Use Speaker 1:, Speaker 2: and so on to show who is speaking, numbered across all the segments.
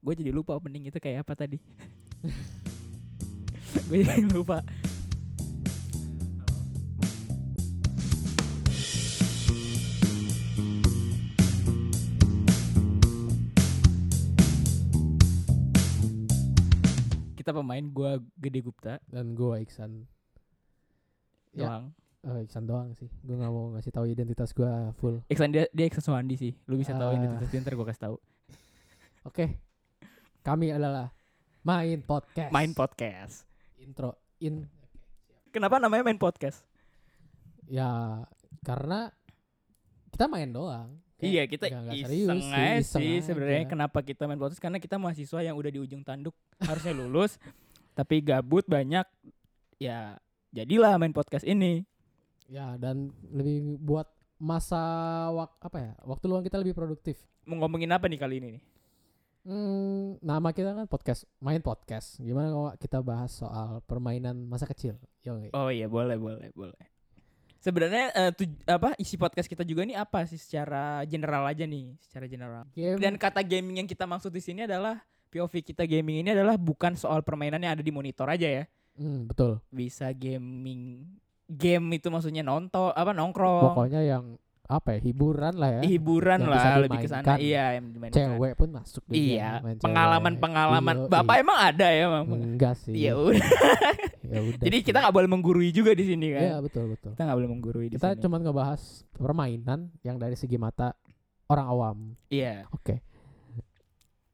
Speaker 1: gue jadi lupa opening itu kayak apa tadi gue jadi lupa kita pemain gue gede Gupta
Speaker 2: Dan gue Iksan. Ya.
Speaker 1: doang
Speaker 2: Eh, Iksan doang sih. Gue nggak mau ngasih tahu identitas gue full.
Speaker 1: Iksan dia dia Iksan Suwandi sih lu bisa tahu
Speaker 2: Ah.
Speaker 1: ini tuh ntar gue kasih tahu
Speaker 2: Oke. Kami adalah main podcast.
Speaker 1: main podcast
Speaker 2: intro in
Speaker 1: kenapa namanya main podcast
Speaker 2: ya karena kita main doang. Kayak
Speaker 1: Iya kita
Speaker 2: nggak- nggak
Speaker 1: iseng
Speaker 2: serius
Speaker 1: aja
Speaker 2: iseng
Speaker 1: sih
Speaker 2: aja.
Speaker 1: sebenarnya kenapa kita main podcast karena kita mahasiswa yang udah di ujung tanduk harusnya lulus tapi gabut banyak ya jadilah main podcast ini
Speaker 2: Ya dan lebih buat masa wak apa ya waktu luang kita lebih produktif.
Speaker 1: mau ngomongin apa nih kali ini nih
Speaker 2: Hmm, nama kita kan podcast main podcast. Gimana kalau kita bahas soal permainan masa kecil? Yo, nggak?
Speaker 1: oh iya boleh boleh boleh sebenarnya eh, tuj- apa isi podcast kita juga nih apa sih secara general aja nih secara general
Speaker 2: game
Speaker 1: dan kata gaming yang kita maksud di sini adalah POV kita gaming ini adalah bukan soal permainan yang ada di monitor aja ya
Speaker 2: Hmm, betul.
Speaker 1: bisa gaming game itu maksudnya nonton apa nongkrong
Speaker 2: Pokoknya yang apa ya hiburan lah
Speaker 1: Iya.
Speaker 2: ya.
Speaker 1: hiburan
Speaker 2: Yang bisa
Speaker 1: lah lebih ke sana
Speaker 2: dimainkan.
Speaker 1: iya yang dimainkan
Speaker 2: cewek pun masuk di game,
Speaker 1: iya
Speaker 2: main cewek. Iya,
Speaker 1: pengalaman pengalaman
Speaker 2: Yoi.
Speaker 1: bapak emang ada ya Bang?
Speaker 2: enggak sih
Speaker 1: Iya udah
Speaker 2: Ya udah
Speaker 1: jadi
Speaker 2: sih.
Speaker 1: kita nggak boleh menggurui juga di sini kan
Speaker 2: Iya, betul betul
Speaker 1: kita nggak boleh menggurui di
Speaker 2: kita
Speaker 1: sini
Speaker 2: cuma ngebahas permainan yang dari segi mata orang awam
Speaker 1: iya
Speaker 2: oke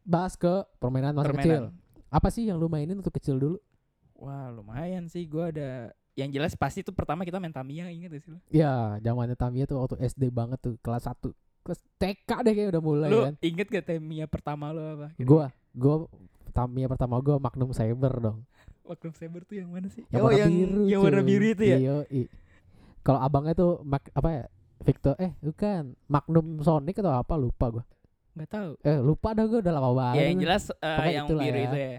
Speaker 2: bahas ke permainan masa kecil
Speaker 1: permainan
Speaker 2: apa sih yang lu mainin untuk kecil dulu
Speaker 1: wah lumayan sih gua ada yang jelas pasti tuh pertama kita main Tamiya inget gak sih lu
Speaker 2: ya zamannya Tamiya tuh waktu SD banget tuh kelas 1 kelas TK deh kayaknya udah mulai
Speaker 1: lu
Speaker 2: kan
Speaker 1: inget gak Tamiya pertama lu apa Gitu.
Speaker 2: gua gua Tamiya pertama gua Magnum Saber dong
Speaker 1: Magnum Saber tuh yang mana sih
Speaker 2: yang
Speaker 1: oh
Speaker 2: warna
Speaker 1: yang
Speaker 2: biru
Speaker 1: yang warna
Speaker 2: cuy.
Speaker 1: biru itu ya
Speaker 2: Iya, i. kalau abangnya tuh Mac- apa ya Victor eh bukan Magnum Sonic atau apa lupa gua
Speaker 1: nggak tahu
Speaker 2: eh lupa dah gua udah lama banget
Speaker 1: ya yang jelas eh,
Speaker 2: Pokoknya
Speaker 1: yang
Speaker 2: itulah
Speaker 1: biru
Speaker 2: ya.
Speaker 1: itu ya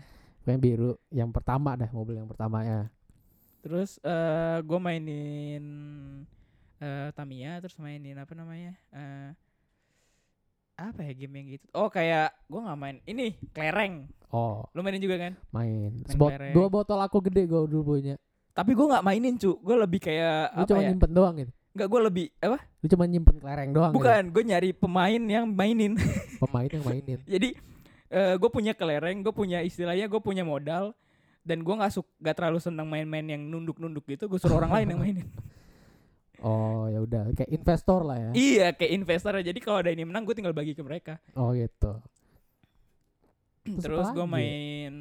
Speaker 2: yang biru yang pertama ya. dah mobil yang pertamanya
Speaker 1: Terus eh gue mainin eh Tamiya, terus mainin apa namanya? eh apa ya game yang gitu? Oh kayak gue nggak main ini kelereng.
Speaker 2: oh
Speaker 1: Lu mainin juga kan?
Speaker 2: main Sebot,
Speaker 1: kelereng.
Speaker 2: dua botol aku gede gua dulu punya
Speaker 1: Tapi gue nggak mainin cu, gue lebih kayak
Speaker 2: lu
Speaker 1: apa
Speaker 2: cuma
Speaker 1: ya?
Speaker 2: nyimpen doang gitu
Speaker 1: Nggak gue lebih apa?
Speaker 2: lu cuma nyimpen kelereng doang gitu.
Speaker 1: Bukan, gue nyari pemain yang mainin.
Speaker 2: pemain yang mainin
Speaker 1: Jadi eh gue punya kelereng, gue punya istilahnya gue punya modal dan gue nggak suka nggak terlalu seneng main-main yang nunduk-nunduk gitu. Gue suruh orang lain yang mainin.
Speaker 2: oh ya udah kayak investor lah ya
Speaker 1: iya kayak investor. Jadi kalau ada ini menang gue tinggal bagi ke mereka.
Speaker 2: oh gitu Terus apa
Speaker 1: Terus gue
Speaker 2: lagi?
Speaker 1: main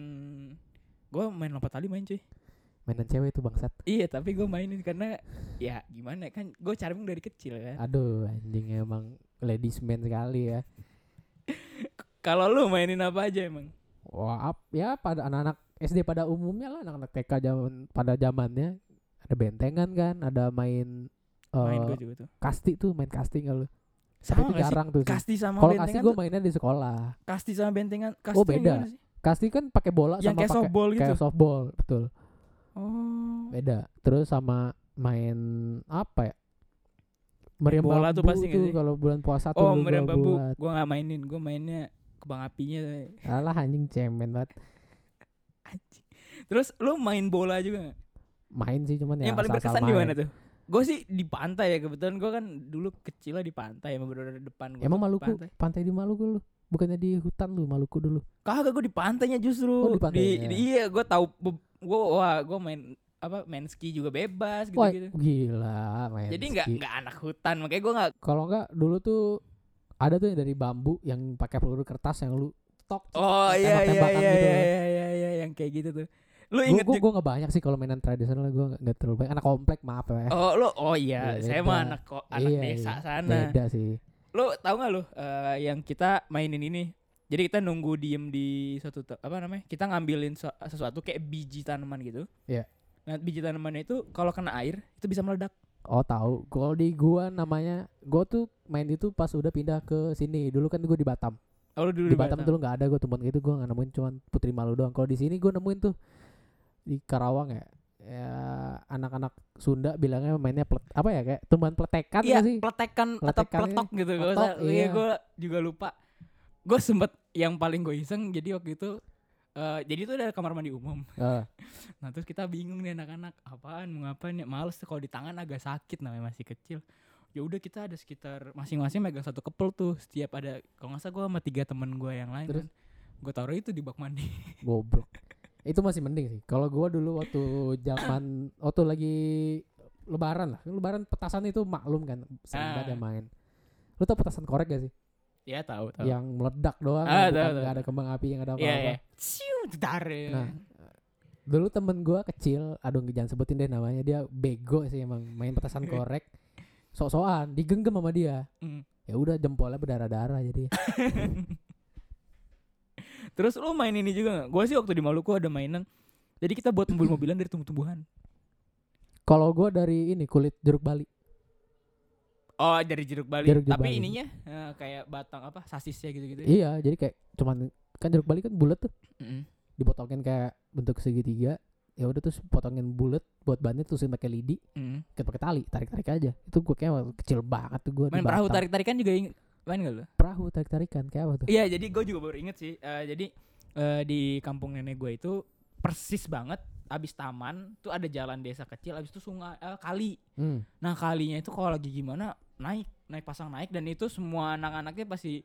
Speaker 1: Gue main lompat tali main cuy
Speaker 2: mainan cewek itu bangsat
Speaker 1: Iya tapi gue mainin karena Ya gimana kan Gue carming dari kecil kan
Speaker 2: aduh anjing emang ladies man sekali ya
Speaker 1: Kalau lu mainin apa aja emang
Speaker 2: Wah, ap- ya pada anak-anak SD pada umumnya lah anak-anak TK zaman pada zamannya ada bentengan kan, ada main eh
Speaker 1: Main gue juga tuh
Speaker 2: kasti tuh, main kasti nggak lu? Tapi
Speaker 1: Sama
Speaker 2: itu
Speaker 1: gak sih
Speaker 2: jarang tuh. sih.
Speaker 1: Kasti sama
Speaker 2: Kalau kasti
Speaker 1: bentengan
Speaker 2: gue
Speaker 1: tuh-
Speaker 2: mainnya di sekolah.
Speaker 1: Kasti sama bentengan kasti
Speaker 2: Oh,
Speaker 1: yang
Speaker 2: beda.
Speaker 1: gimana sih?
Speaker 2: Kasti kan pakai bola
Speaker 1: Yang
Speaker 2: sama
Speaker 1: kayak
Speaker 2: pakai
Speaker 1: softball gitu
Speaker 2: kayak softball, betul.
Speaker 1: Oh
Speaker 2: Beda. Terus sama main apa ya? Meriam
Speaker 1: bola tuh
Speaker 2: bambu
Speaker 1: pasti nggak
Speaker 2: tuh
Speaker 1: sih?
Speaker 2: kalau bulan puasa tuh
Speaker 1: Oh
Speaker 2: dulu
Speaker 1: meriam
Speaker 2: gua
Speaker 1: bambu
Speaker 2: buat.
Speaker 1: Gue gak mainin Gue mainnya Kebang apinya
Speaker 2: Alah anjing cemen banget.
Speaker 1: Terus lu main bola juga gak?
Speaker 2: Main sih cuman ya
Speaker 1: Yang paling
Speaker 2: asal-asal
Speaker 1: berkesan di
Speaker 2: main.
Speaker 1: mana tuh Gue sih di pantai ya kebetulan gue kan dulu kecilnya di pantai emang bener-bener depan gua
Speaker 2: Emang
Speaker 1: tuh
Speaker 2: Maluku,
Speaker 1: pantai.
Speaker 2: pantai. di Maluku lu. Bukannya di hutan lu Maluku dulu.
Speaker 1: Kagak gue di pantainya justru.
Speaker 2: Oh, di pantainya.
Speaker 1: di- iya, gue tahu gue wah, gue main apa main ski juga bebas
Speaker 2: Wah,
Speaker 1: gitu-gitu.
Speaker 2: gila main
Speaker 1: Jadi nggak
Speaker 2: ski.
Speaker 1: nggak anak hutan, makanya gue nggak
Speaker 2: Kalau nggak dulu tuh ada tuh yang dari bambu yang pakai peluru kertas yang lu tok.
Speaker 1: Oh
Speaker 2: Kayak
Speaker 1: iya iya
Speaker 2: tembak-tembakan
Speaker 1: iya
Speaker 2: gitu
Speaker 1: iya
Speaker 2: kan.
Speaker 1: iya iya iya, yang kayak gitu tuh. Lu
Speaker 2: Gue
Speaker 1: inget
Speaker 2: gue
Speaker 1: juga-
Speaker 2: gue nggak banyak sih kalau mainan tradisional gue nggak terlalu banyak. Anak komplek maaf ya.
Speaker 1: Oh lu oh iya,
Speaker 2: Iya,
Speaker 1: saya
Speaker 2: beda.
Speaker 1: mah anak ko- anak
Speaker 2: Iya,
Speaker 1: desa
Speaker 2: iya.
Speaker 1: sana.
Speaker 2: Beda sih.
Speaker 1: Lu tahu nggak lu eh, yang kita mainin ini? Jadi kita nunggu diem di suatu te- apa namanya? Kita ngambilin so- sesuatu kayak biji tanaman gitu.
Speaker 2: Iya.
Speaker 1: Nah, biji tanamannya itu kalau kena air itu bisa meledak.
Speaker 2: Oh tahu. Kalau di gua namanya gue tuh main itu pas udah pindah ke sini. Dulu kan gue di Batam.
Speaker 1: Oh, lu dulu
Speaker 2: Di Batam dulu nggak ada gue temuan gitu gue nggak nemuin cuman Putri Malu doang. Kalau di sini gue nemuin tuh di Karawang ya. Ya, anak-anak Sunda bilangnya mainnya pelet, apa ya kayak tumbuhan peletekan
Speaker 1: Iya,
Speaker 2: nggak sih? iya.
Speaker 1: peletekan atau
Speaker 2: Peletekan
Speaker 1: peletok gitu. Gua
Speaker 2: Peletok,
Speaker 1: sa- iya,
Speaker 2: iya.
Speaker 1: gue juga lupa. Gue sempet yang paling gue iseng jadi waktu itu eh jadi itu ada kamar mandi umum.
Speaker 2: Eh,
Speaker 1: Nah terus kita bingung nih anak-anak apaan mau ngapain ya males tuh kalau di tangan agak sakit namanya masih kecil. Ya udah kita ada sekitar masing-masing megang satu kepel tuh setiap ada kalau nggak salah gue sama tiga temen gue yang lain
Speaker 2: Terus?
Speaker 1: kan. Gue taruh itu di bak mandi.
Speaker 2: goblok itu masih mending sih kalau gua dulu waktu zaman waktu lagi lebaran lah lebaran petasan itu maklum kan sering
Speaker 1: Ah.
Speaker 2: banget yang main lu tau petasan korek gak sih
Speaker 1: ya tahu tahu.
Speaker 2: yang meledak doang
Speaker 1: Ah, tahu,
Speaker 2: yang bukan
Speaker 1: tahu.
Speaker 2: nggak ada kembang api yang ada apa-apa
Speaker 1: Iya iya. Ciu dar. ya.
Speaker 2: Nah, dulu temen gua kecil aduh jangan sebutin deh namanya dia bego sih emang main petasan korek sok-sokan digenggam sama dia
Speaker 1: Mm.
Speaker 2: ya udah jempolnya berdarah-darah jadi
Speaker 1: Terus lu main ini juga gak? Gue sih waktu di Maluku ada mainan. Jadi kita buat mobil-mobilan dari tumbuh-tumbuhan.
Speaker 2: kalau gua dari ini kulit jeruk bali
Speaker 1: Oh dari jeruk bali.
Speaker 2: Jeruk
Speaker 1: Tapi
Speaker 2: Bali.
Speaker 1: ininya eh, kayak batang apa sasisnya gitu-gitu.
Speaker 2: iya jadi kayak cuman kan jeruk bali kan bulat tuh
Speaker 1: Mm.
Speaker 2: dipotongin kayak bentuk segitiga ya udah terus potongin bulat buat bannya terusin pakai lidi
Speaker 1: Mm.
Speaker 2: kita pakai tali tarik tarik aja itu gua kayak waktu kecil banget tuh gua di
Speaker 1: Main perahu
Speaker 2: Batam.
Speaker 1: tarik-tarikan juga ing- main gak lu?
Speaker 2: perahu tarik tarikan kayak apa tuh
Speaker 1: Iya, jadi gue juga baru inget sih. Eh, jadi eh, di kampung nenek gue itu persis banget abis taman tuh ada jalan desa kecil abis itu sungai eh, kali
Speaker 2: hmm.
Speaker 1: nah kalinya itu kalau lagi gimana naik naik pasang naik dan itu semua anak-anaknya pasti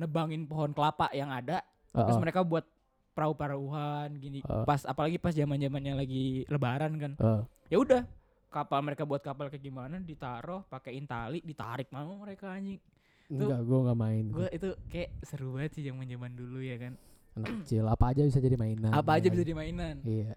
Speaker 1: nebangin pohon kelapa yang ada
Speaker 2: Oh,
Speaker 1: terus
Speaker 2: oh.
Speaker 1: mereka buat perahu-perahuan gini
Speaker 2: Oh.
Speaker 1: pas apalagi pas zaman zamannya lagi lebaran kan
Speaker 2: Oh.
Speaker 1: ya udah kapal mereka buat kapal kayak gimana ditaruh pakaiin tali ditarik mau mereka anjing
Speaker 2: enggak gua nggak main tuh.
Speaker 1: gue itu kayak seru banget sih zaman zaman dulu ya kan
Speaker 2: anak kecil apa aja bisa jadi mainan
Speaker 1: apa aja
Speaker 2: ya
Speaker 1: bisa
Speaker 2: kan?
Speaker 1: dimainan
Speaker 2: iya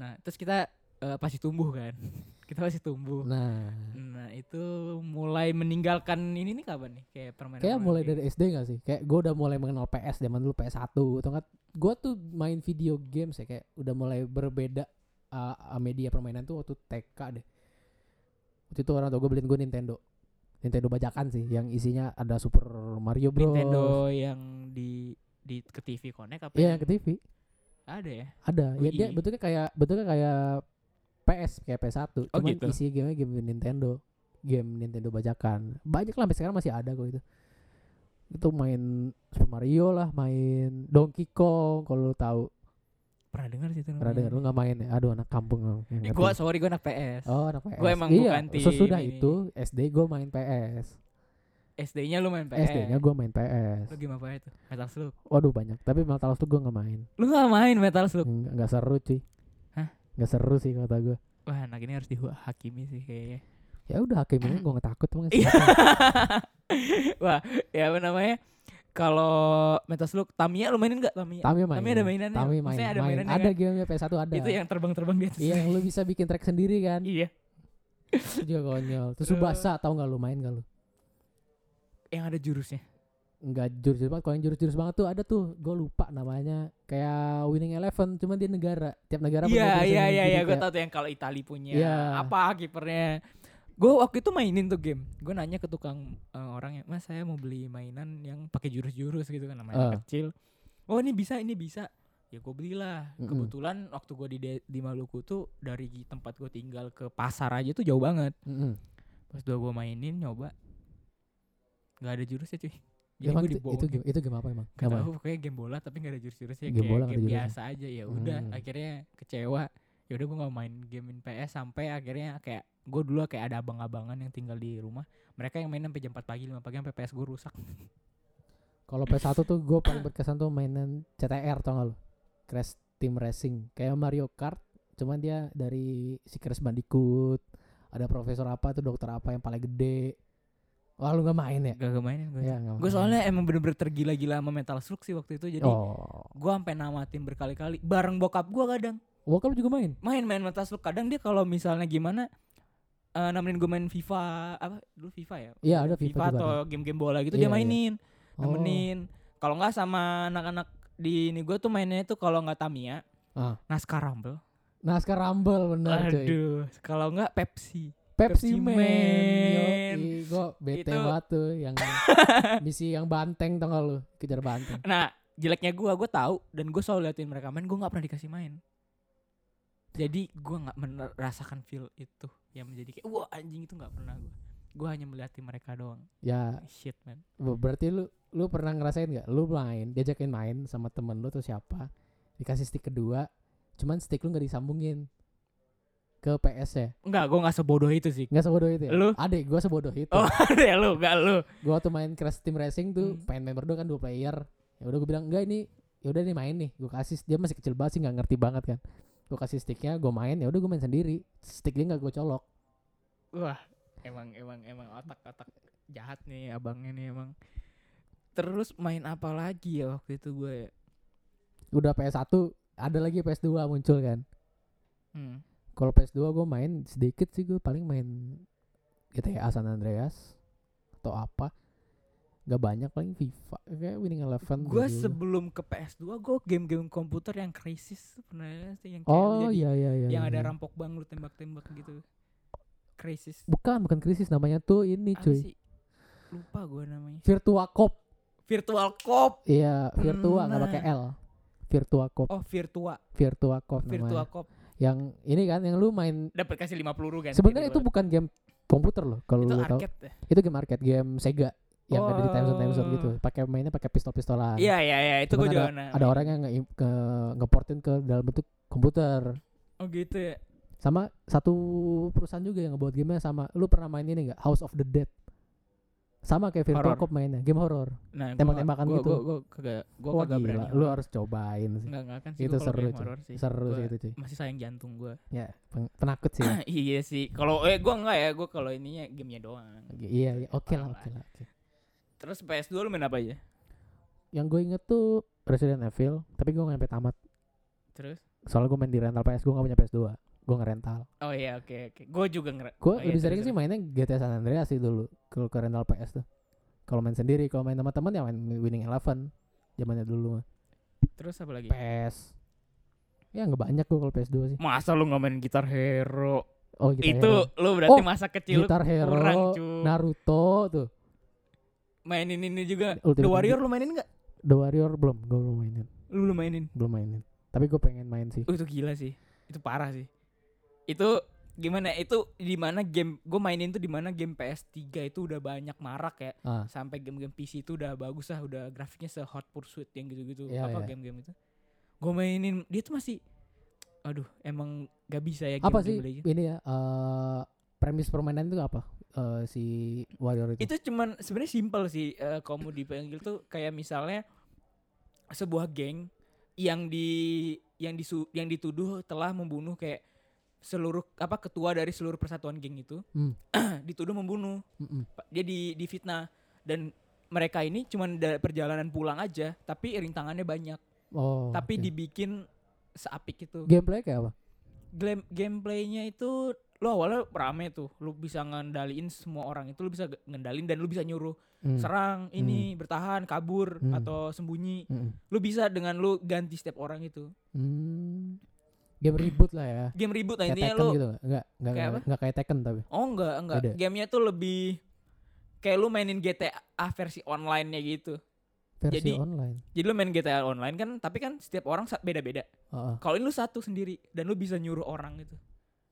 Speaker 1: nah terus kita eh, pasti tumbuh kan kita pasti tumbuh
Speaker 2: nah
Speaker 1: nah itu mulai meninggalkan ini nih kapan nih kayak permainan
Speaker 2: kayak mulai dari SD gak sih kayak gua udah mulai mengenal PS zaman dulu PS 1 atau enggak gitu kan. gua tuh main video games ya kayak udah mulai berbeda uh, media permainan tuh waktu TK deh waktu itu orang tua gua beliin gua Nintendo Nintendo bajakan sih yang isinya ada Super Mario Bros
Speaker 1: Nintendo yang di di ke TV Connect apa
Speaker 2: Iya yang
Speaker 1: yang-
Speaker 2: ke TV
Speaker 1: ada ya
Speaker 2: ada ya dia
Speaker 1: Wii.
Speaker 2: bentuknya kayak bentuknya kayak PS kayak PS 1
Speaker 1: Oh,
Speaker 2: cuman
Speaker 1: gitu.
Speaker 2: isinya game game Nintendo game Nintendo bajakan banyak lah sampai sekarang masih ada kok itu itu main Super Mario lah main Donkey Kong kalau lu tahu
Speaker 1: pernah dengar sih itu
Speaker 2: pernah dengar lu nggak main ya aduh anak kampung lu. Nggak
Speaker 1: Eh,
Speaker 2: ngerti.
Speaker 1: Hmm. gua sorry gua anak PS
Speaker 2: oh anak PS
Speaker 1: gua emang
Speaker 2: iya,
Speaker 1: bukan tim
Speaker 2: sesudah
Speaker 1: ini.
Speaker 2: itu SD gue main PS,
Speaker 1: SD-nya lu main PS
Speaker 2: SD nya gue main PS
Speaker 1: lu gimana apa itu Metal Slug
Speaker 2: waduh banyak tapi Metal Slug gue nggak main
Speaker 1: lu gak main Metal Slug
Speaker 2: nggak nggak seru cuy
Speaker 1: Hah?
Speaker 2: nggak seru sih kata gue
Speaker 1: wah anak ini harus dihakimi sih kayaknya
Speaker 2: ya udah akhirnya gue nggak takut
Speaker 1: Ah.
Speaker 2: emang
Speaker 1: Iya.
Speaker 2: siapa?
Speaker 1: Wah, ya apa namanya? Kalau Metal Slug, Tamiya lu mainin gak Tamiya?
Speaker 2: Tami main.
Speaker 1: Tamiya Ya, ada mainannya.
Speaker 2: Tami main.
Speaker 1: Maksudnya
Speaker 2: ada
Speaker 1: ada
Speaker 2: main.
Speaker 1: mainannya kan?
Speaker 2: Ada gamenya PS1 ada.
Speaker 1: Itu yang terbang-terbang di atas.
Speaker 2: Iya, yang lu bisa bikin track sendiri kan.
Speaker 1: Iya.
Speaker 2: Itu juga konyol. Terus
Speaker 1: Terus-
Speaker 2: Subasa tau gak lu main gak lu?
Speaker 1: Yang ada jurusnya.
Speaker 2: Enggak jurus-jurus banget. Kalau yang jurus-jurus banget tuh ada tuh. Gue lupa namanya. Kayak Winning Eleven. Cuman dia negara. Tiap negara punya
Speaker 1: Iya, iya,
Speaker 2: jurus sendiri.
Speaker 1: iya,
Speaker 2: Jadi
Speaker 1: iya. Gue
Speaker 2: gitu kayak-
Speaker 1: tau tuh yang kalau Itali punya.
Speaker 2: Iya.
Speaker 1: Apa kipernya? Gue waktu itu mainin tuh game. Gue nanya ke tukang eh, orangnya, Mas saya mau beli mainan yang pakai jurus-jurus gitu kan, namanya
Speaker 2: Eh.
Speaker 1: kecil. Oh ini bisa, ini bisa. Ya gue belilah.
Speaker 2: Mm-mm.
Speaker 1: Kebetulan waktu gue di de- di Maluku tuh dari tempat gue tinggal ke pasar aja tuh jauh banget.
Speaker 2: Mm-mm.
Speaker 1: Pas udah gue mainin nyoba Gak ada jurusnya cuy Jadi
Speaker 2: Emang
Speaker 1: gue
Speaker 2: itu, itu,
Speaker 1: dibohongin
Speaker 2: game, itu game apa emang?
Speaker 1: Gak
Speaker 2: Apa?
Speaker 1: tau pokoknya game bola tapi gak ada jurus-jurusnya
Speaker 2: Game
Speaker 1: Kayak
Speaker 2: bola nggak
Speaker 1: game
Speaker 2: ada jurusnya.
Speaker 1: biasa aja ya udah
Speaker 2: Hmm.
Speaker 1: Akhirnya kecewa ya udah gue gak main gamein PS Sampai akhirnya kayak Gue dulu kayak ada abang-abangan yang tinggal di rumah Mereka yang main sampai jam 4 pagi 5 pagi sampai PS gue rusak
Speaker 2: Kalau PS1 tuh gue paling berkesan tuh mainan CTR tau gak lu? Crash Team Racing. Kayak Mario Kart. Cuman dia dari si Crash Bandicoot. Ada profesor apa tuh dokter apa yang paling gede. Wah lu gak main ya?
Speaker 1: Gak gak mainin gue
Speaker 2: Ya, nggak
Speaker 1: Gue
Speaker 2: main.
Speaker 1: soalnya emang bener-bener tergila-gila sama Metal Slug sih waktu itu Jadi
Speaker 2: oh,
Speaker 1: gue sampai namatin berkali-kali Bareng bokap gue kadang
Speaker 2: Wakal juga main.
Speaker 1: main-main Metal Slug kadang dia kalau misalnya gimana eh nemenin gue main FIFA apa dulu FIFA ya
Speaker 2: Iya, ada FIFA
Speaker 1: FIFA,
Speaker 2: juga
Speaker 1: atau game-game bola gitu
Speaker 2: Iya,
Speaker 1: dia
Speaker 2: iya.
Speaker 1: mainin
Speaker 2: Oh.
Speaker 1: nemenin kalau nggak sama anak-anak di ini gue tuh mainnya tuh kalau nggak Tamiya
Speaker 2: Ah.
Speaker 1: Naskah Rumble
Speaker 2: Naskah Rumble benar cuy.
Speaker 1: aduh kalau nggak Pepsi Pepsi
Speaker 2: Pepsi Man.
Speaker 1: Man.
Speaker 2: Yoi, gua bete
Speaker 1: Itu-
Speaker 2: banget tuh yang misi yang banteng tau gak lu? Kejar banteng.
Speaker 1: nah jeleknya gue gue tahu dan gue selalu liatin mereka main gue nggak pernah dikasih main jadi gue nggak merasakan feel itu yang menjadi kayak wah anjing itu nggak pernah gue gue hanya melihat mereka doang
Speaker 2: Ya
Speaker 1: shit man
Speaker 2: berarti lu lu pernah ngerasain nggak lu main diajakin main sama temen lu tuh siapa dikasih stick kedua cuman stick lu nggak disambungin ke PS ya
Speaker 1: Enggak, gue nggak sebodoh itu sih.
Speaker 2: nggak sebodoh itu ya
Speaker 1: Lu?
Speaker 2: adek gua sebodoh itu
Speaker 1: Oh, ya lu, enggak lu.
Speaker 2: gua waktu main Crash Team Racing tuh
Speaker 1: Hmm.
Speaker 2: pengen main berdua kan dua player ya udah gua bilang enggak ini ya udah nih main nih gua kasih dia masih kecil banget sih nggak ngerti banget kan gua kasih sticknya gua main ya udah gua main sendiri stick dia nggak gua colok
Speaker 1: Wah, emang emang emang otak-otak jahat nih abangnya nih emang. Terus main apa lagi ya waktu itu gue? ya?
Speaker 2: udah PS1 ada lagi PS2 muncul kan
Speaker 1: Hmm.
Speaker 2: kalau PS2 gue main sedikit sih gue paling main GTA San Andreas atau apa nggak banyak paling FIFA kayak Winning Eleven
Speaker 1: Gue
Speaker 2: gitu.
Speaker 1: sebelum ke PS2 gue game-game komputer yang krisis tuh pernah liat sih yang kayak lu
Speaker 2: oh
Speaker 1: jadi-
Speaker 2: iya iya iya
Speaker 1: yang
Speaker 2: iya.
Speaker 1: ada rampok bang lu tembak-tembak gitu. Krisis.
Speaker 2: bukan bukan krisis namanya tuh ini
Speaker 1: Apa
Speaker 2: Iya, cuy
Speaker 1: sih? Lupa gue namanya.
Speaker 2: Virtua Cop
Speaker 1: Virtual Cop.
Speaker 2: iya Virtua nggak
Speaker 1: Nah.
Speaker 2: pakai L Virtua Cop
Speaker 1: Oh, Virtua.
Speaker 2: Virtua Cop
Speaker 1: Virtua
Speaker 2: namanya
Speaker 1: Cop.
Speaker 2: yang ini kan yang lu main
Speaker 1: Dapat kasih 50 peluru kan.
Speaker 2: sebenarnya itu bukan game komputer loh kalau
Speaker 1: itu
Speaker 2: lu tahu
Speaker 1: arcade. ya?
Speaker 2: itu game arcade game Sega yang ada di Timezone Timezone
Speaker 1: Oh.
Speaker 2: gitu pakai mainnya pakai pistol-pistolan
Speaker 1: Iya, iya, iya, itu
Speaker 2: Cuman
Speaker 1: gue juga
Speaker 2: ada,
Speaker 1: pernah
Speaker 2: ada
Speaker 1: main.
Speaker 2: orang yang nge, ke, ngeportin ke dalam bentuk komputer
Speaker 1: Oh gitu ya.
Speaker 2: sama satu perusahaan juga yang ngebuat gamenya sama lu pernah main ini nggak House of the Dead sama kayak Virtua
Speaker 1: Horror.
Speaker 2: Cop mainnya game horror
Speaker 1: Nah, gua-
Speaker 2: Tembak-tembakan
Speaker 1: gua-
Speaker 2: gitu.
Speaker 1: Gua gua kagak gua
Speaker 2: Wah,
Speaker 1: kagak
Speaker 2: gila,
Speaker 1: berani.
Speaker 2: lu harus cobain sih
Speaker 1: enggak enggak kan sih
Speaker 2: itu
Speaker 1: gua kalau
Speaker 2: seru
Speaker 1: game
Speaker 2: cuy
Speaker 1: horror sih.
Speaker 2: seru
Speaker 1: Gua
Speaker 2: sih itu cuy
Speaker 1: Masih sayang jantung gua.
Speaker 2: ya peng- penakut sih ya.
Speaker 1: iya sih. Kalau eh gua enggak ya, gua kalau ininya gamenya doang.
Speaker 2: Oke, iya iya oke lah
Speaker 1: Parah
Speaker 2: oke lah oke.
Speaker 1: Terus PS2 lu main apa aja?
Speaker 2: yang gue inget tuh Resident Evil tapi gue nggak sampai tamat
Speaker 1: Terus
Speaker 2: soalnya gue main di rental PS gue nggak punya PS 2 gue ngerental
Speaker 1: Oh iya oke oke. Gua juga ngera. oh,
Speaker 2: Gue
Speaker 1: iya,
Speaker 2: lebih
Speaker 1: terus,
Speaker 2: sering sih
Speaker 1: terus.
Speaker 2: mainnya GTA San Andreas sih dulu kalau ke rental PS tuh. Kalau main sendiri, kalau main sama teman ya main Winning Eleven zamannya dulu mah.
Speaker 1: Terus apa lagi?
Speaker 2: PS. Ya nggak banyak gue kalau PS2 sih.
Speaker 1: Masa lu nggak main gitar hero?
Speaker 2: Oh Guitar
Speaker 1: itu
Speaker 2: Hero.
Speaker 1: lu berarti
Speaker 2: Oh,
Speaker 1: masa kecil lu
Speaker 2: Guitar Hero,
Speaker 1: kurang cuy.
Speaker 2: Naruto tuh.
Speaker 1: mainin ini juga.
Speaker 2: Ultimate
Speaker 1: The Warrior lu mainin enggak?
Speaker 2: The Warrior belum, gue belum mainin,
Speaker 1: Lu belum mainin.
Speaker 2: belum mainin. Tapi gue pengen main sih.
Speaker 1: Oh, itu gila sih. Itu parah sih. Itu gimana itu di mana game gue mainin tuh di mana game PS3 itu udah banyak marak ya
Speaker 2: Ah,
Speaker 1: sampai game-game PC itu udah bagus lah udah grafiknya se Hot Pursuit yang gitu-gitu
Speaker 2: Iya,
Speaker 1: apa
Speaker 2: iya.
Speaker 1: game-game itu gue mainin dia tuh masih aduh emang gak bisa ya game-game
Speaker 2: apa sih
Speaker 1: Legends.
Speaker 2: ini ya? eh premis permainan itu apa? Eh, si Warrior itu.
Speaker 1: itu cuman sebenarnya simpel sih eh, kalau mau dipanggil tuh kayak misalnya sebuah geng yang di yang disu yang dituduh telah membunuh kayak seluruh apa ketua dari seluruh persatuan geng itu
Speaker 2: Hmm.
Speaker 1: dituduh membunuh
Speaker 2: Mm-mm.
Speaker 1: Pa- dia di difitnah dan mereka ini cuman da- perjalanan pulang aja tapi rintangannya banyak
Speaker 2: Oh.
Speaker 1: tapi
Speaker 2: oke.
Speaker 1: dibikin seapik itu
Speaker 2: gameplay kayak apa?
Speaker 1: Game gameplaynya itu lo awalnya rame tuh lu bisa ngendaliin semua orang itu lu bisa ge- ngendalin dan lu bisa nyuruh
Speaker 2: Hmm,
Speaker 1: serang ini bertahan kabur
Speaker 2: Hmm.
Speaker 1: atau sembunyi
Speaker 2: mm-mm.
Speaker 1: lu bisa dengan lu ganti setiap orang itu
Speaker 2: Hmm. Game ribut lah ya.
Speaker 1: game ribut nah
Speaker 2: Kayak
Speaker 1: intinya
Speaker 2: Tekken
Speaker 1: lu
Speaker 2: gitu enggak? Enggak
Speaker 1: Kayak
Speaker 2: enggak enggak kayak Tekken tapi.
Speaker 1: oh enggak enggak
Speaker 2: Beda.
Speaker 1: gamenya tuh lebih kayak lu mainin GTA versi online-nya gitu
Speaker 2: Versi
Speaker 1: Jadi-
Speaker 2: online.
Speaker 1: jadi lu main GTA online kan tapi kan setiap orang sa- beda-beda
Speaker 2: Heeh.
Speaker 1: kalau ini lu satu sendiri dan lu bisa nyuruh orang gitu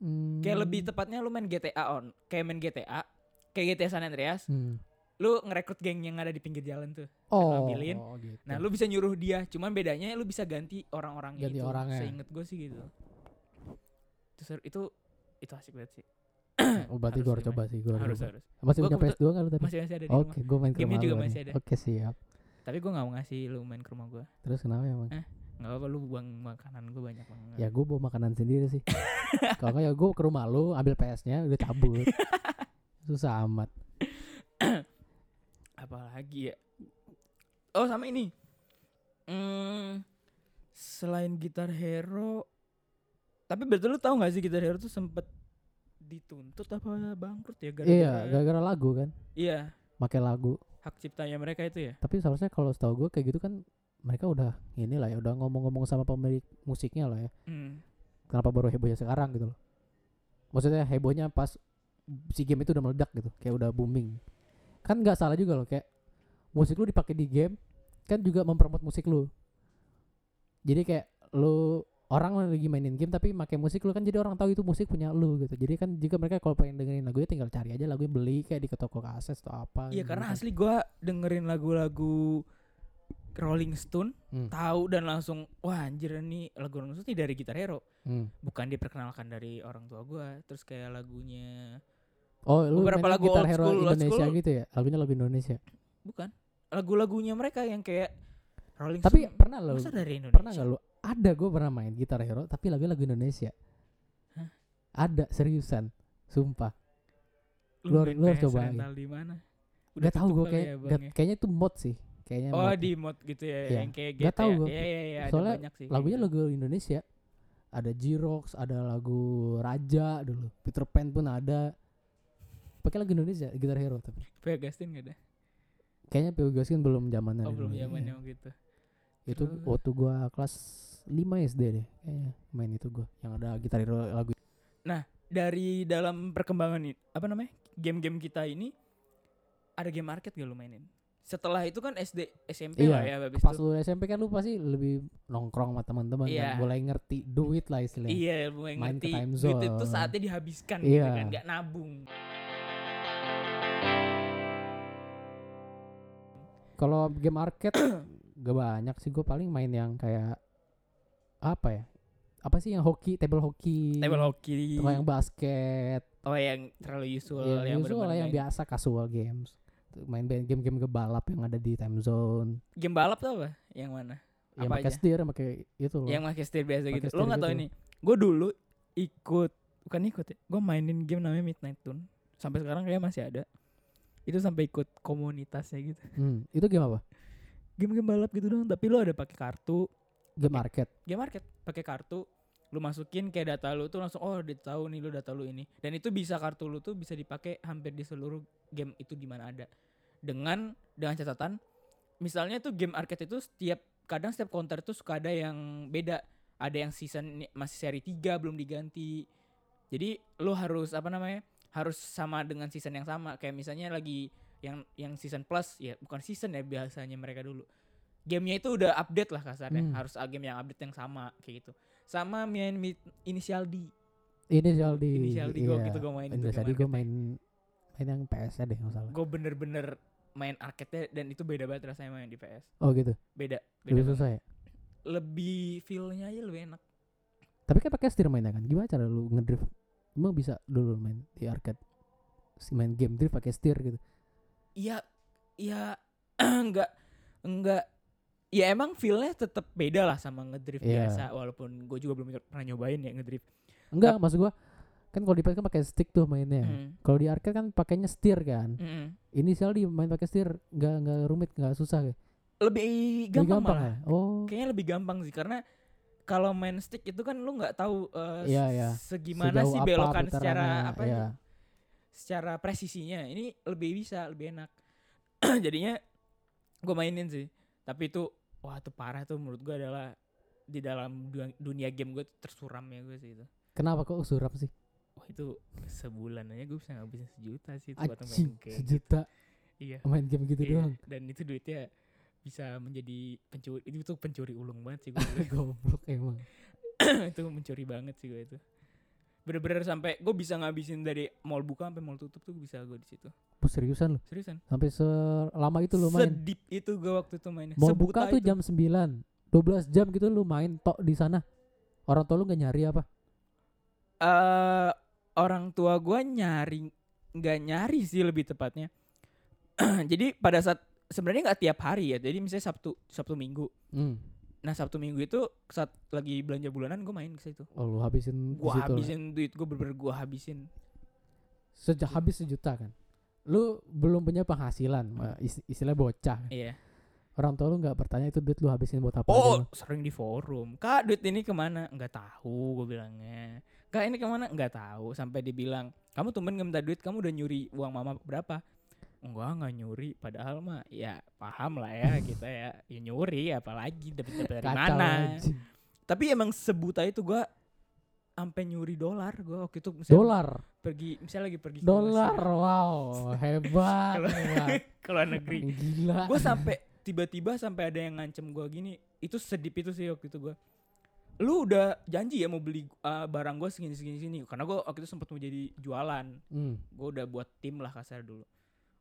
Speaker 2: Hmm.
Speaker 1: kayak lebih tepatnya lu main GTA on kayak main GTA kayak GTA San Andreas
Speaker 2: Hmm.
Speaker 1: lu ngerekrut geng yang ada di pinggir jalan tuh
Speaker 2: Oh,
Speaker 1: ambilin.
Speaker 2: gitu.
Speaker 1: nah lu bisa nyuruh dia cuman bedanya lu bisa ganti orang-orang itu
Speaker 2: Ganti orangnya.
Speaker 1: seinget gue sih gitu itu seru- itu itu asik banget sih
Speaker 2: oh,
Speaker 1: harus
Speaker 2: berarti gua harus
Speaker 1: dimain.
Speaker 2: coba sih, gua harus
Speaker 1: harus
Speaker 2: coba.
Speaker 1: harus
Speaker 2: Masih
Speaker 1: Gua
Speaker 2: punya
Speaker 1: kebetul-
Speaker 2: PS2 enggak lu tadi?
Speaker 1: masih masih ada di
Speaker 2: Oke,
Speaker 1: rumah
Speaker 2: gua main ke
Speaker 1: Gamenya
Speaker 2: rumah lu
Speaker 1: juga
Speaker 2: berarti.
Speaker 1: masih ada.
Speaker 2: Oke, siap.
Speaker 1: tapi gue nggak mau ngasih lu main ke rumah gue
Speaker 2: Terus kenapa emang?
Speaker 1: Eh. nggak apa lu buang makanan gue banyak banget
Speaker 2: Ya gua bawa makanan sendiri sih. Kalau enggak ya gua ke rumah lu ambil PS-nya udah cabut. Susah amat.
Speaker 1: apalagi ya oh sama ini hmm, selain gitar hero tapi betul lu tahu nggak sih gitar hero tuh sempet dituntut apa bangkrut ya gara-gara
Speaker 2: Iya, gara-gara lagu kan.
Speaker 1: iya
Speaker 2: Pakai lagu.
Speaker 1: hak ciptanya mereka itu ya
Speaker 2: Tapi seharusnya kalau setahu gua kayak gitu kan mereka udah inilah ya udah ngomong-ngomong sama pemilik musiknya lah ya.
Speaker 1: Hmm.
Speaker 2: kenapa baru hebohnya sekarang gitu loh maksudnya hebohnya pas si game itu udah meledak gitu kayak udah booming kan nggak salah juga loh kayak musik lu dipakai di game kan juga mempromot musik lu jadi kayak lu orang lagi mainin game tapi pakai musik lu kan jadi orang tahu itu musik punya lu gitu jadi kan jika mereka kalau pengen dengerin lagunya tinggal cari aja lagunya beli kayak di ke toko kaset atau apa
Speaker 1: Iya
Speaker 2: gitu
Speaker 1: karena
Speaker 2: kan.
Speaker 1: asli gua dengerin lagu-lagu Rolling Stone
Speaker 2: Hmm,
Speaker 1: tahu dan langsung wah anjir ini lagu Rolling Stone ini dari Gitar Hero
Speaker 2: hmm.
Speaker 1: bukan diperkenalkan dari orang tua gua terus kayak lagunya
Speaker 2: oh lu
Speaker 1: Beberapa
Speaker 2: mainnya
Speaker 1: lagu
Speaker 2: gitar
Speaker 1: old
Speaker 2: hero
Speaker 1: school, old
Speaker 2: Indonesia
Speaker 1: school. Iya,
Speaker 2: gitu ya lagunya lagu Indonesia
Speaker 1: bukan lagu-lagunya mereka yang kayak Rolling
Speaker 2: tapi
Speaker 1: Stone
Speaker 2: pernah lo
Speaker 1: masa dari Indonesia
Speaker 2: pernah gak lu ada gue pernah main gitar hero tapi lagunya lagu Indonesia
Speaker 1: Hah?
Speaker 2: ada seriusan sumpah
Speaker 1: Lu
Speaker 2: Lu-
Speaker 1: main
Speaker 2: lu harus
Speaker 1: PS
Speaker 2: cobain.
Speaker 1: rental di mana Udah
Speaker 2: Gak tau
Speaker 1: tutup
Speaker 2: gue
Speaker 1: kali
Speaker 2: kayak
Speaker 1: ya,
Speaker 2: nggak-
Speaker 1: Bang, ya?
Speaker 2: kayaknya itu mod sih kayaknya
Speaker 1: oh
Speaker 2: mod.
Speaker 1: di mod gitu ya
Speaker 2: Iya.
Speaker 1: yang kayak
Speaker 2: Nggak
Speaker 1: gitu
Speaker 2: tahu gua.
Speaker 1: ya iya iya iya ada
Speaker 2: Soalnya
Speaker 1: banyak sih kayak
Speaker 2: lagunya
Speaker 1: gitu.
Speaker 2: lagu Indonesia ada Jirox ada lagu Raja dulu Peter Pan pun ada pakai lagu Indonesia Gitar Hero tapi
Speaker 1: Via Gastin gak ada
Speaker 2: kayaknya Pio Gaskin belum zamannya
Speaker 1: oh
Speaker 2: dulu.
Speaker 1: belum
Speaker 2: Iya.
Speaker 1: zamannya gitu
Speaker 2: itu
Speaker 1: Terus.
Speaker 2: waktu gua kelas 5 SD deh kayaknya main itu gua yang ada Gitar Hero lagu
Speaker 1: dari dalam perkembangan ini apa namanya game-game kita ini ada game market gak lu mainin setelah itu kan SD SMP lah ya
Speaker 2: Iya,
Speaker 1: habis
Speaker 2: pas
Speaker 1: itu
Speaker 2: lu SMP kan lu pasti lebih nongkrong sama teman-teman kan,
Speaker 1: Iya.
Speaker 2: mulai ngerti duit lah istilahnya
Speaker 1: iya lu yang
Speaker 2: main ke
Speaker 1: ngerti
Speaker 2: time
Speaker 1: duit itu
Speaker 2: zone.
Speaker 1: saatnya dihabiskan gitu
Speaker 2: Iya.
Speaker 1: kan nggak nabung
Speaker 2: kalau game arcade gak banyak sih gua paling main yang kayak apa ya apa sih yang hoki table hoki
Speaker 1: table hockey
Speaker 2: Atau yang basket
Speaker 1: oh yang terlalu usual
Speaker 2: ya,
Speaker 1: yang,
Speaker 2: yang usual lah,
Speaker 1: bener-bener
Speaker 2: yang
Speaker 1: main.
Speaker 2: biasa casual games Tuh, main ba- game-game kebalap yang ada di time zone
Speaker 1: game balap tuh apa yang mana
Speaker 2: yang
Speaker 1: Apa
Speaker 2: pakai
Speaker 1: aja?
Speaker 2: steer yang pakai itu loh
Speaker 1: yang pakai setir biasa
Speaker 2: Pakai
Speaker 1: gitu
Speaker 2: setir
Speaker 1: lo nggak tau
Speaker 2: gitu.
Speaker 1: ini gue dulu ikut bukan ikut ya gue mainin game namanya Midnight Tune sampai sekarang kayak masih ada itu sampai ikut komunitasnya gitu
Speaker 2: Hmm, itu game apa
Speaker 1: game-game balap gitu dong tapi lo ada pakai kartu
Speaker 2: game arcade
Speaker 1: game market pakai kartu lu masukin kayak data lu tuh langsung oh dia tahu nih lu data lu ini dan itu bisa kartu lu tuh bisa dipakai hampir di seluruh game itu di mana ada dengan dengan catatan misalnya tuh game arcade itu setiap kadang setiap counter tuh suka ada yang beda ada yang season ini masih seri 3 belum diganti jadi lu harus apa namanya harus sama dengan season yang sama kayak misalnya lagi yang yang season plus ya bukan season ya biasanya mereka dulu gamenya itu udah update lah kasarnya
Speaker 2: Hmm.
Speaker 1: harus ah, game yang update yang sama kayak gitu sama main mid, inisial D
Speaker 2: ini di iya.
Speaker 1: inisial D gue gitu gue main itu
Speaker 2: Indonesia
Speaker 1: game
Speaker 2: gue
Speaker 1: arcade-nya.
Speaker 2: main main yang PS deh nggak salah
Speaker 1: gue bener-bener main arcade-nya dan itu beda banget rasanya main di PS
Speaker 2: oh gitu
Speaker 1: beda beda
Speaker 2: lebih
Speaker 1: banget.
Speaker 2: susah ya
Speaker 1: lebih feel-nya aja lebih enak
Speaker 2: tapi kan pakai steer mainnya kan gimana cara lu ngedrift emang bisa dulu lu main di arcade Si- main game drift pakai steer gitu
Speaker 1: iya iya enggak enggak ya emang feel-nya tetap beda lah sama ngedrift
Speaker 2: Iya.
Speaker 1: biasa walaupun gue juga belum pernah nyobain ya ngedrift
Speaker 2: enggak maksud gua kan kalau di PS kan pakai stick tuh mainnya
Speaker 1: Mm,
Speaker 2: Kalau di arcade kan pakainya setir kan.
Speaker 1: mm.
Speaker 2: Inisial di main pakai setir nggak nggak rumit nggak susah kayak.
Speaker 1: lebih gampang,
Speaker 2: Lebih gampang
Speaker 1: malah
Speaker 2: ya. Oh.
Speaker 1: kayaknya lebih gampang sih karena kalau main stick itu kan lu nggak tahu eh,
Speaker 2: Iya,
Speaker 1: s-
Speaker 2: iya.
Speaker 1: segimana
Speaker 2: sejauh
Speaker 1: sih
Speaker 2: apa
Speaker 1: belokan
Speaker 2: putarannya,
Speaker 1: secara apa gitu.
Speaker 2: ya.
Speaker 1: secara presisinya ini lebih bisa lebih enak jadinya gue mainin sih tapi itu wah itu parah tuh menurut gue adalah di dalam du- dunia game gue tersuram ya gue sih itu
Speaker 2: Kenapa kok suram sih?
Speaker 1: wah itu sebulan aja gue bisa ngabisin sejuta sih itu buat main
Speaker 2: Anjing,
Speaker 1: game
Speaker 2: sejuta
Speaker 1: iya
Speaker 2: main game gitu
Speaker 1: gitu. iya.
Speaker 2: doang.
Speaker 1: dan itu duitnya bisa menjadi pencuri itu tuh pencuri ulung banget sih gue dulu.
Speaker 2: Goblok emang.
Speaker 1: itu mencuri banget sih gue itu bener-bener sampai gue bisa ngabisin dari mall buka sampai mall tutup tuh bisa gue di situ
Speaker 2: Puh, seriusan lu.
Speaker 1: seriusan
Speaker 2: Sampai selama itu lu main.
Speaker 1: sedip itu gue waktu itu mainnya
Speaker 2: Mau
Speaker 1: Sebuta
Speaker 2: buka tuh
Speaker 1: itu.
Speaker 2: jam 9. 12 jam gitu lu main tok di sana. Orang tua lu nggak nyari apa?
Speaker 1: Eh, orang tua gue nyari nggak nyari sih lebih tepatnya jadi pada saat sebenarnya nggak tiap hari ya jadi misalnya sabtu sabtu minggu
Speaker 2: Hmm.
Speaker 1: nah sabtu minggu itu saat lagi belanja bulanan gue main ke situ
Speaker 2: Oh, lu habisin di
Speaker 1: gue
Speaker 2: situ. lah.
Speaker 1: habisin duit gue bener-bener gue habisin
Speaker 2: Sejak habis sejuta kan. Lu belum punya penghasilan, is- istilah bocah.
Speaker 1: iya
Speaker 2: orang tua lu nggak bertanya itu duit lu habisin buat apa aja
Speaker 1: Oh,
Speaker 2: lu.
Speaker 1: sering di forum. Kak, duit ini kemana? Nggak tahu, gue bilangnya. Kak, ini kemana? Nggak tahu. Sampai dibilang, kamu tumben nggak minta duit, kamu udah nyuri uang mama berapa? Enggak, nggak nyuri. Padahal mah, ya paham lah ya kita ya. Ya nyuri, apalagi dapat dapat dari
Speaker 2: Kacau
Speaker 1: mana?
Speaker 2: aja.
Speaker 1: Tapi emang sebuta itu gua sampai nyuri dolar. Gua waktu itu misalnya
Speaker 2: dolar
Speaker 1: pergi, misalnya lagi pergi ke
Speaker 2: dolar
Speaker 1: Mesir,
Speaker 2: wow hebat
Speaker 1: Kalau-
Speaker 2: hebat.
Speaker 1: ke luar negeri.
Speaker 2: gila
Speaker 1: gue sampai tiba-tiba sampai ada yang ngancem gue gini itu sedip itu sih waktu itu gue lu udah janji ya mau beli uh, barang gue segini segini segini karena gue waktu itu sempat mau jadi jualan
Speaker 2: Hmm.
Speaker 1: gue udah buat tim lah kasar dulu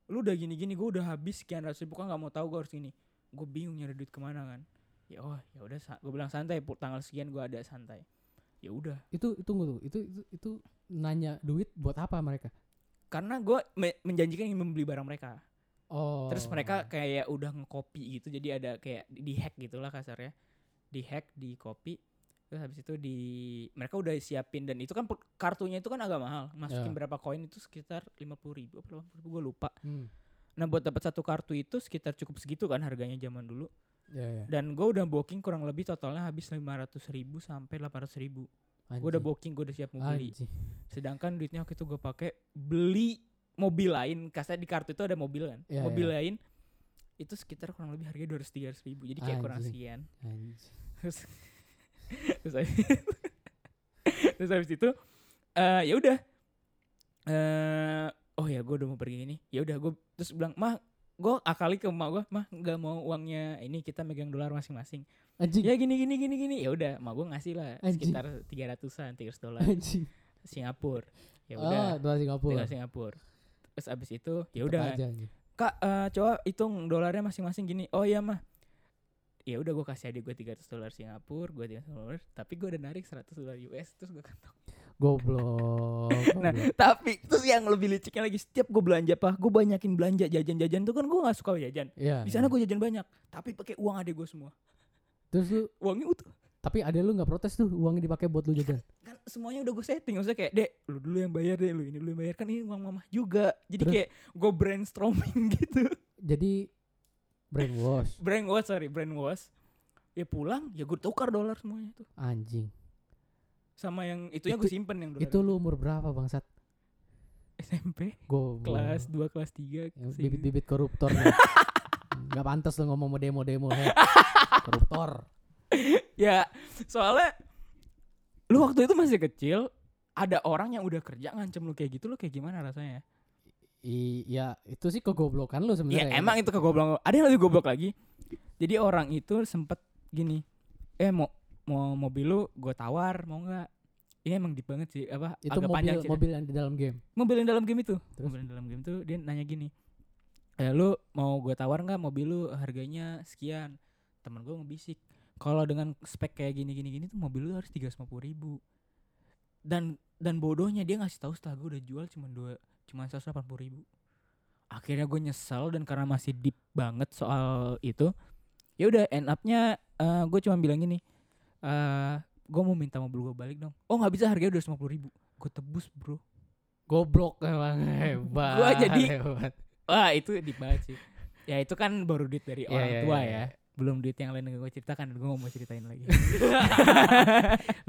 Speaker 1: lu udah gini gini gue udah habis sekian ratus ribu kan nggak mau tahu gue harus ini gue bingung nyari duit kemana kan ya oh ya udah gue bilang santai pu- tanggal sekian gue ada santai ya udah
Speaker 2: Itu itu tunggu tuh. Itu itu itu nanya duit buat apa mereka?
Speaker 1: karena gue menjanjikan ingin membeli barang mereka
Speaker 2: Oh.
Speaker 1: terus mereka kayak ya udah ngekopi gitu jadi ada kayak di hack gitulah kasarnya di hack di copy terus habis itu di mereka udah siapin dan itu kan per- kartunya itu kan agak mahal masukin
Speaker 2: Ya.
Speaker 1: berapa koin itu sekitar lima puluh ribu apa ribu gue lupa
Speaker 2: Hmm.
Speaker 1: nah buat dapat satu kartu itu sekitar cukup segitu kan harganya zaman dulu
Speaker 2: Ya, ya.
Speaker 1: dan gue udah booking kurang lebih totalnya habis lima ratus ribu sampai delapan ratus ribu gue udah booking gue udah siap mau beli
Speaker 2: Anjing.
Speaker 1: sedangkan duitnya waktu itu gue pakai beli mobil lain kasnya di kartu itu ada mobil kan
Speaker 2: Iya,
Speaker 1: mobil lain itu sekitar kurang lebih harganya dua ratus ribu jadi kayak kurang
Speaker 2: Anjing.
Speaker 1: sekian
Speaker 2: Anjing.
Speaker 1: terus terus habis, terus habis itu eh ya udah eh oh ya gue udah mau pergi ini ya udah gue terus bilang mah gue akali ke emak gue mah nggak mau uangnya ini kita megang dolar masing-masing
Speaker 2: Anjing.
Speaker 1: ya gini gini gini gini ya udah emak gue ngasih lah
Speaker 2: Anjing.
Speaker 1: sekitar tiga ratusan tiga dolar
Speaker 2: Anjing.
Speaker 1: Singapura ya udah
Speaker 2: Ah, dolar Singapura.
Speaker 1: tinggal Singapura. Terus abis itu ya
Speaker 2: Tetep
Speaker 1: udah
Speaker 2: aja, anjing.
Speaker 1: kak eh, coba hitung dolarnya masing-masing gini. Oh iya mah. Ya udah gue kasih adik gue 300 dolar Singapura, gue 300 dolar, tapi gue udah narik 100 dolar US terus gue
Speaker 2: Oh,
Speaker 1: kantong.
Speaker 2: Goblok.
Speaker 1: Nah,
Speaker 2: goblok.
Speaker 1: tapi terus yang lebih liciknya lagi setiap gue belanja apa, gue banyakin belanja jajan-jajan tuh kan gue nggak suka jajan.
Speaker 2: Iya.
Speaker 1: Di sana gue jajan banyak, tapi pakai uang adik gue semua.
Speaker 2: Terus lu
Speaker 1: Uangnya utuh.
Speaker 2: tapi ada lu nggak protes tuh uangnya dipakai buat lu jajan.
Speaker 1: kan semuanya udah gue setting maksudnya kayak dek lu dulu yang bayar deh lu ini dulu yang bayar kan ini uang mama juga jadi
Speaker 2: Terus?
Speaker 1: kayak gue brainstorming gitu
Speaker 2: Jadi brainwash
Speaker 1: brainwash sorry brainwash ya pulang ya gue tukar dolar semuanya tuh
Speaker 2: anjing.
Speaker 1: sama yang itunya
Speaker 2: Itu-
Speaker 1: gue simpen yang dolar
Speaker 2: Itu lu umur berapa bangsat?
Speaker 1: SMP
Speaker 2: Goblok.
Speaker 1: kelas 2 kelas 3
Speaker 2: Ya, bibit-bibit koruptor nih. Gak pantas lu ngomong mau demo-demo he. Koruptor.
Speaker 1: ya soalnya lu waktu itu masih kecil ada orang yang udah kerja ngancem lu kayak gitu lu kayak gimana rasanya
Speaker 2: Iya, itu sih kegoblokan lu
Speaker 1: ya
Speaker 2: sebenarnya.
Speaker 1: emang itu kegoblok ada yang lebih goblok lagi jadi orang itu sempet gini eh mau mau mobil lu gue tawar mau nggak ini emang deep banget sih apa
Speaker 2: itu
Speaker 1: agak
Speaker 2: mobil
Speaker 1: panjang sih
Speaker 2: mobil yang di dalam game.
Speaker 1: mobil yang dalam game itu
Speaker 2: Terus?
Speaker 1: mobil yang dalam game itu dia nanya gini eh lu mau gue tawar nggak mobil lu harganya sekian temen gue ngebisik kalau dengan spek kayak gini gini gini tuh mobil lu harus tiga ribu dan dan bodohnya dia ngasih tahu setelah gue udah jual cuma dua cuma seratus ribu akhirnya gue nyesel dan karena masih deep banget soal itu ya udah end upnya eh gue cuma bilang gini eh gue mau minta mobil gue balik dong oh nggak bisa harganya dua ribu gue tebus bro
Speaker 2: Goblok emang hebat.
Speaker 1: Gua jadi-
Speaker 2: hebat.
Speaker 1: Wah itu deep banget sih Ya itu kan baru duit dari
Speaker 2: Iya,
Speaker 1: orang
Speaker 2: iya,
Speaker 1: tua
Speaker 2: iya,
Speaker 1: ya Belum duit yang lain yang gue ceritakan Gue mau ceritain lagi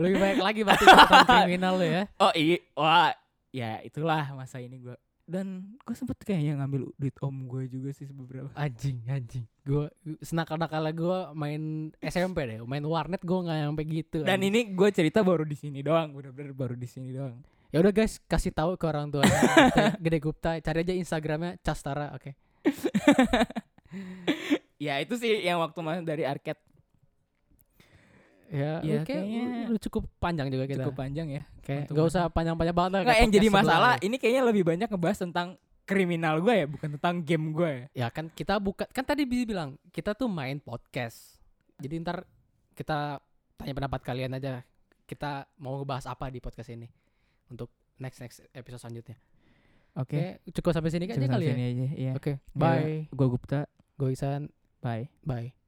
Speaker 2: Lebih baik lagi berarti catatan kriminal lu ya.
Speaker 1: Oh iya Wah Ya itulah masa ini gue Dan gue sempet kayaknya ngambil duit om gue juga sih beberapa
Speaker 2: Anjing, anjing. Gua senakal-nakalnya gua main SMP deh, main warnet gua nggak sampai gitu.
Speaker 1: Dan
Speaker 2: anjing.
Speaker 1: ini gue cerita baru di sini doang Bener-bener baru di sini doang
Speaker 2: ya udah guys, kasih tahu ke orang tua. Gede Gupta, cari aja Instagramnya Castara, oke.
Speaker 1: Ya itu sih yang waktu mas dari arcade
Speaker 2: Ya,
Speaker 1: Ya,
Speaker 2: oke.
Speaker 1: kayaknya-
Speaker 2: udah cukup panjang juga kita.
Speaker 1: Cukup panjang ya
Speaker 2: Kayak
Speaker 1: Untuk
Speaker 2: nggak usah panjang-panjang banget lah.
Speaker 1: Nggak,
Speaker 2: kayak
Speaker 1: yang jadi
Speaker 2: podcast sebelah
Speaker 1: masalah
Speaker 2: lah.
Speaker 1: Ini kayaknya lebih banyak ngebahas tentang kriminal gue ya Bukan tentang game gue ya
Speaker 2: Ya kan kita buka kan tadi Bibi bilang kita tuh main podcast. Jadi ntar kita tanya pendapat kalian aja. Kita mau ngebahas apa di podcast ini untuk next next episode selanjutnya. Oke, cukup sampai sini aja kali ya.
Speaker 1: aja ya.
Speaker 2: Oke, bye.
Speaker 1: Gue Gupta
Speaker 2: Gue Iksan,
Speaker 1: Bye
Speaker 2: bye.